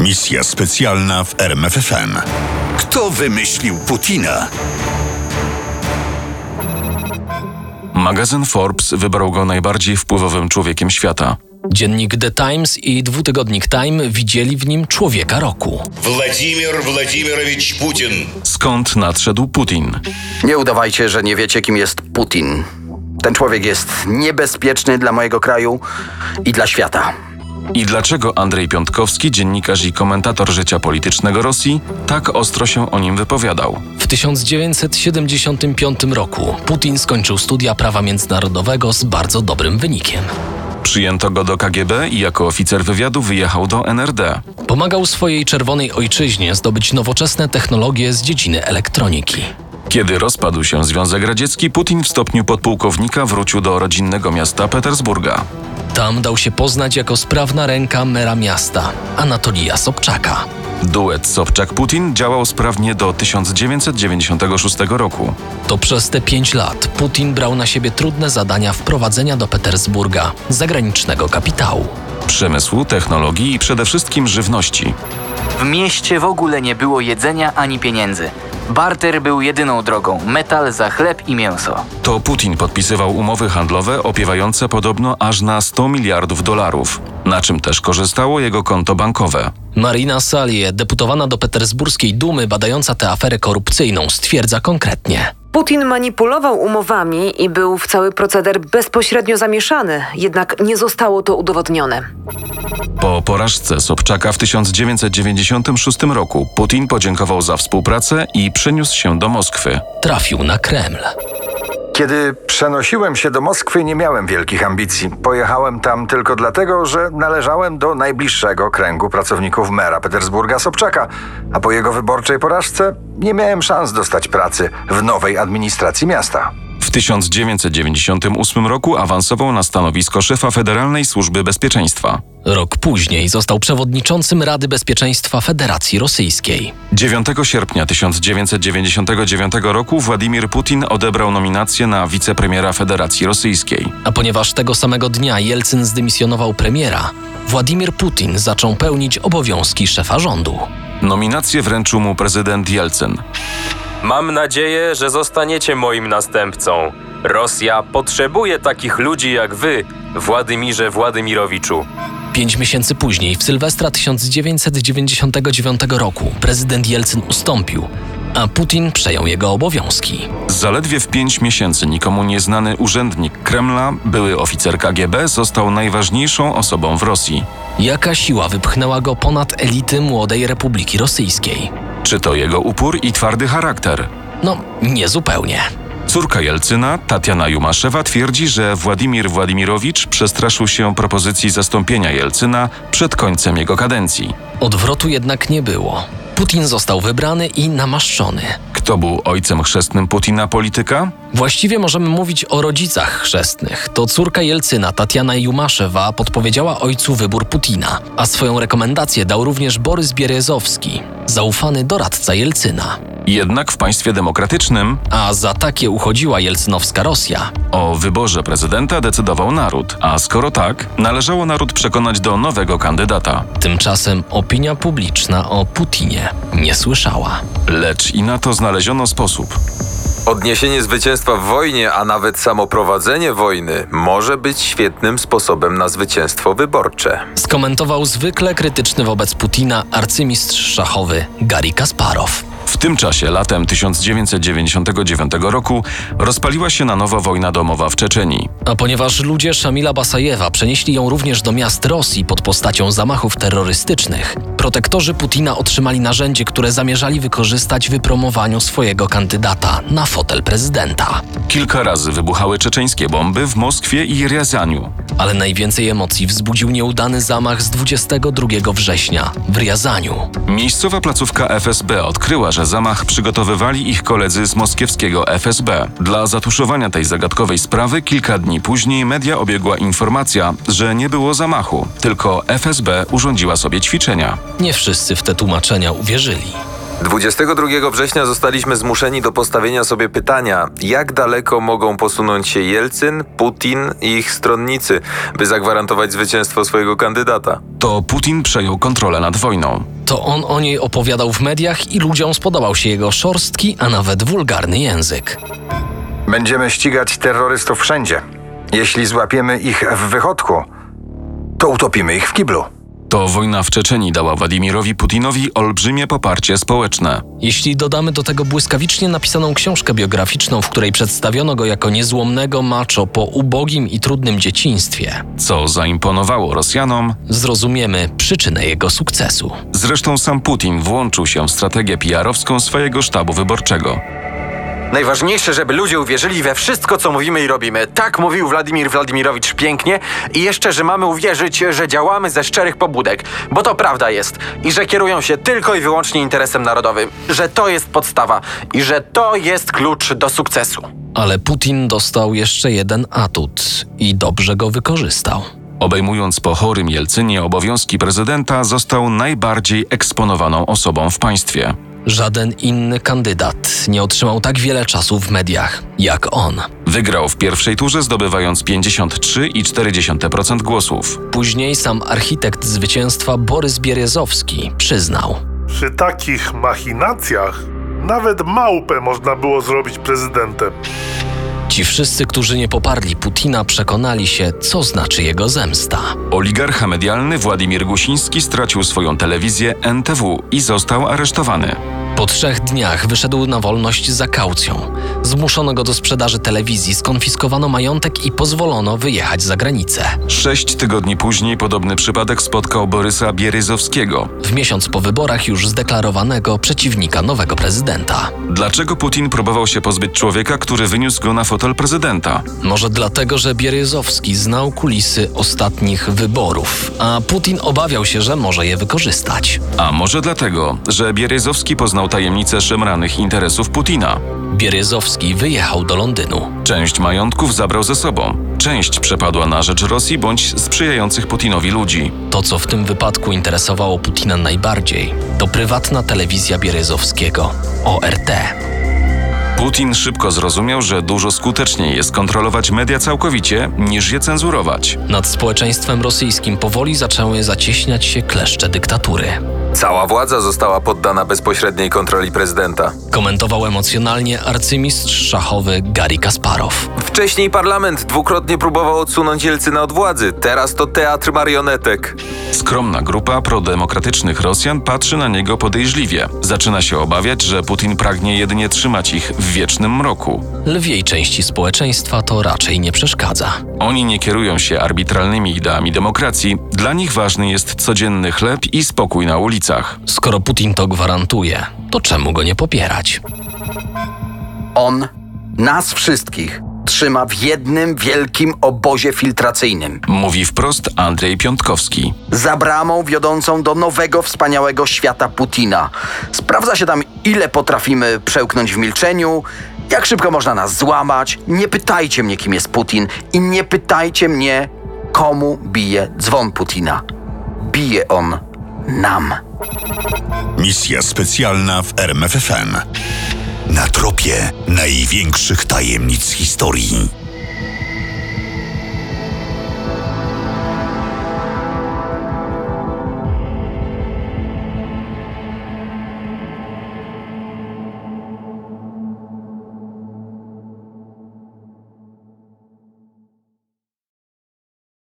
Misja specjalna w RMFFM. Kto wymyślił Putina? Magazyn Forbes wybrał go najbardziej wpływowym człowiekiem świata. Dziennik The Times i dwutygodnik Time widzieli w nim człowieka roku. Владимир Владимирович Путин. Skąd nadszedł Putin? Nie udawajcie, że nie wiecie, kim jest Putin. Ten człowiek jest niebezpieczny dla mojego kraju i dla świata. I dlaczego Andrzej Piątkowski, dziennikarz i komentator życia politycznego Rosji, tak ostro się o nim wypowiadał? W 1975 roku Putin skończył studia prawa międzynarodowego z bardzo dobrym wynikiem. Przyjęto go do KGB i jako oficer wywiadu wyjechał do NRD. Pomagał swojej czerwonej ojczyźnie zdobyć nowoczesne technologie z dziedziny elektroniki. Kiedy rozpadł się Związek Radziecki, Putin w stopniu podpułkownika wrócił do rodzinnego miasta Petersburga. Tam dał się poznać jako sprawna ręka mera miasta Anatolija Sobczaka. Duet Sobczak-Putin działał sprawnie do 1996 roku. To przez te pięć lat Putin brał na siebie trudne zadania wprowadzenia do Petersburga zagranicznego kapitału. Przemysłu, technologii i przede wszystkim żywności. W mieście w ogóle nie było jedzenia ani pieniędzy. Barter był jedyną drogą metal za chleb i mięso. To Putin podpisywał umowy handlowe opiewające podobno aż na 100 miliardów dolarów, na czym też korzystało jego konto bankowe. Marina Salie, deputowana do petersburskiej Dumy badająca tę aferę korupcyjną, stwierdza konkretnie. Putin manipulował umowami i był w cały proceder bezpośrednio zamieszany, jednak nie zostało to udowodnione. Po porażce Sobczaka w 1996 roku Putin podziękował za współpracę i przeniósł się do Moskwy. Trafił na Kreml. Kiedy przenosiłem się do Moskwy, nie miałem wielkich ambicji. Pojechałem tam tylko dlatego, że należałem do najbliższego kręgu pracowników mera Petersburga Sobczaka, a po jego wyborczej porażce nie miałem szans dostać pracy w nowej administracji miasta. W 1998 roku awansował na stanowisko szefa Federalnej Służby Bezpieczeństwa. Rok później został przewodniczącym Rady Bezpieczeństwa Federacji Rosyjskiej. 9 sierpnia 1999 roku Władimir Putin odebrał nominację na wicepremiera Federacji Rosyjskiej. A ponieważ tego samego dnia Jelcyn zdymisjonował premiera, Władimir Putin zaczął pełnić obowiązki szefa rządu. Nominację wręczył mu prezydent Jelcyn. Mam nadzieję, że zostaniecie moim następcą. Rosja potrzebuje takich ludzi jak wy, Władymirze Władymirowiczu. Pięć miesięcy później, w Sylwestra 1999 roku, prezydent Jelcyn ustąpił, a Putin przejął jego obowiązki. Zaledwie w pięć miesięcy nikomu nieznany urzędnik Kremla, były oficer KGB, został najważniejszą osobą w Rosji. Jaka siła wypchnęła go ponad elity młodej Republiki Rosyjskiej? Czy to jego upór i twardy charakter? No, niezupełnie. Córka Jelcyna, Tatiana Jumaszewa, twierdzi, że Władimir Władimirowicz przestraszył się propozycji zastąpienia Jelcyna przed końcem jego kadencji. Odwrotu jednak nie było. Putin został wybrany i namaszczony. Kto był ojcem chrzestnym Putina polityka? Właściwie możemy mówić o rodzicach chrzestnych. To córka Jelcyna, Tatiana Jumaszewa, podpowiedziała ojcu wybór Putina, a swoją rekomendację dał również Borys Bierezowski, zaufany doradca Jelcyna. Jednak w państwie demokratycznym A za takie uchodziła jelcynowska Rosja. o wyborze prezydenta decydował naród, a skoro tak, należało naród przekonać do nowego kandydata. Tymczasem opinia publiczna o Putinie nie słyszała. Lecz i na to znaleziono sposób. Odniesienie zwycięstwa w wojnie, a nawet samoprowadzenie wojny może być świetnym sposobem na zwycięstwo wyborcze. Skomentował zwykle krytyczny wobec Putina arcymistrz szachowy Garry Kasparow. W tym czasie, latem 1999 roku, rozpaliła się na nowo wojna domowa w Czeczenii. A ponieważ ludzie Szamila Basajewa przenieśli ją również do miast Rosji pod postacią zamachów terrorystycznych, protektorzy Putina otrzymali narzędzie, które zamierzali wykorzystać w wypromowaniu swojego kandydata na fotel prezydenta. Kilka razy wybuchały czeczeńskie bomby w Moskwie i Riazaniu. Ale najwięcej emocji wzbudził nieudany zamach z 22 września w Riazaniu. Miejscowa placówka FSB odkryła, że zamach przygotowywali ich koledzy z moskiewskiego FSB. Dla zatuszowania tej zagadkowej sprawy kilka dni później media obiegła informacja, że nie było zamachu, tylko FSB urządziła sobie ćwiczenia. Nie wszyscy w te tłumaczenia uwierzyli. 22 września zostaliśmy zmuszeni do postawienia sobie pytania, jak daleko mogą posunąć się Jelcyn, Putin i ich stronnicy, by zagwarantować zwycięstwo swojego kandydata. To Putin przejął kontrolę nad wojną. To on o niej opowiadał w mediach i ludziom spodobał się jego szorstki, a nawet wulgarny język. Będziemy ścigać terrorystów wszędzie. Jeśli złapiemy ich w wychodku, to utopimy ich w kiblu. To wojna w Czeczeni dała Władimirowi Putinowi olbrzymie poparcie społeczne. Jeśli dodamy do tego błyskawicznie napisaną książkę biograficzną, w której przedstawiono go jako niezłomnego macho po ubogim i trudnym dzieciństwie, Co zaimponowało Rosjanom, zrozumiemy przyczynę jego sukcesu. zresztą sam Putin włączył się w strategię PR-owską swojego sztabu wyborczego. Najważniejsze, żeby ludzie uwierzyli we wszystko, co mówimy i robimy. Tak mówił Władimir Władimirowicz pięknie i jeszcze, że mamy uwierzyć, że działamy ze szczerych pobudek, bo to prawda jest i że kierują się tylko i wyłącznie interesem narodowym, że to jest podstawa i że to jest klucz do sukcesu. Ale Putin dostał jeszcze jeden atut i dobrze go wykorzystał. Obejmując po chorym Jelcynie obowiązki prezydenta, został najbardziej eksponowaną osobą w państwie. Żaden inny kandydat nie otrzymał tak wiele czasu w mediach jak on. Wygrał w pierwszej turze zdobywając 53,4% głosów. Później sam architekt zwycięstwa Borys Bierezowski przyznał. Przy takich machinacjach nawet małpę można było zrobić prezydentem. Ci wszyscy, którzy nie poparli Putina, przekonali się, co znaczy jego zemsta. Oligarcha medialny Władimir Gusiński stracił swoją telewizję NTW i został aresztowany. Po trzech dniach wyszedł na wolność za kaucją. Zmuszono go do sprzedaży telewizji, skonfiskowano majątek i pozwolono wyjechać za granicę. Sześć tygodni później podobny przypadek spotkał Borysa Bieryzowskiego. W miesiąc po wyborach już zdeklarowanego przeciwnika nowego prezydenta. Dlaczego Putin próbował się pozbyć człowieka, który wyniósł go na fotel prezydenta? Może dlatego, że Bieryzowski znał kulisy ostatnich wyborów, a Putin obawiał się, że może je wykorzystać. A może dlatego, że Bieryzowski poznał tajemnicę szemranych interesów Putina? Bieryzowski wyjechał do Londynu. Część majątków zabrał ze sobą, część przepadła na rzecz Rosji bądź sprzyjających Putinowi ludzi. To, co w tym wypadku interesowało Putina najbardziej, to prywatna telewizja Bieryzowskiego ORT. Putin szybko zrozumiał, że dużo skuteczniej jest kontrolować media całkowicie, niż je cenzurować. Nad społeczeństwem rosyjskim powoli zaczęły zacieśniać się kleszcze dyktatury. Cała władza została poddana bezpośredniej kontroli prezydenta. Komentował emocjonalnie arcymistrz szachowy Gary Kasparow. Wcześniej parlament dwukrotnie próbował odsunąć Jelcyna od władzy, teraz to teatr marionetek. Skromna grupa prodemokratycznych Rosjan patrzy na niego podejrzliwie. Zaczyna się obawiać, że Putin pragnie jedynie trzymać ich w wiecznym mroku. Lwiej części społeczeństwa to raczej nie przeszkadza. Oni nie kierują się arbitralnymi ideami demokracji, dla nich ważny jest codzienny chleb i spokój na ulicach. Skoro Putin to gwarantuje, to czemu go nie popierać? On nas wszystkich trzyma w jednym wielkim obozie filtracyjnym. Mówi wprost Andrzej Piątkowski. Za bramą wiodącą do nowego, wspaniałego świata Putina. Sprawdza się tam, ile potrafimy przełknąć w milczeniu, jak szybko można nas złamać. Nie pytajcie mnie, kim jest Putin i nie pytajcie mnie, komu bije dzwon Putina. Bije on nam. Misja specjalna w RMFFM. Na tropie największych tajemnic historii.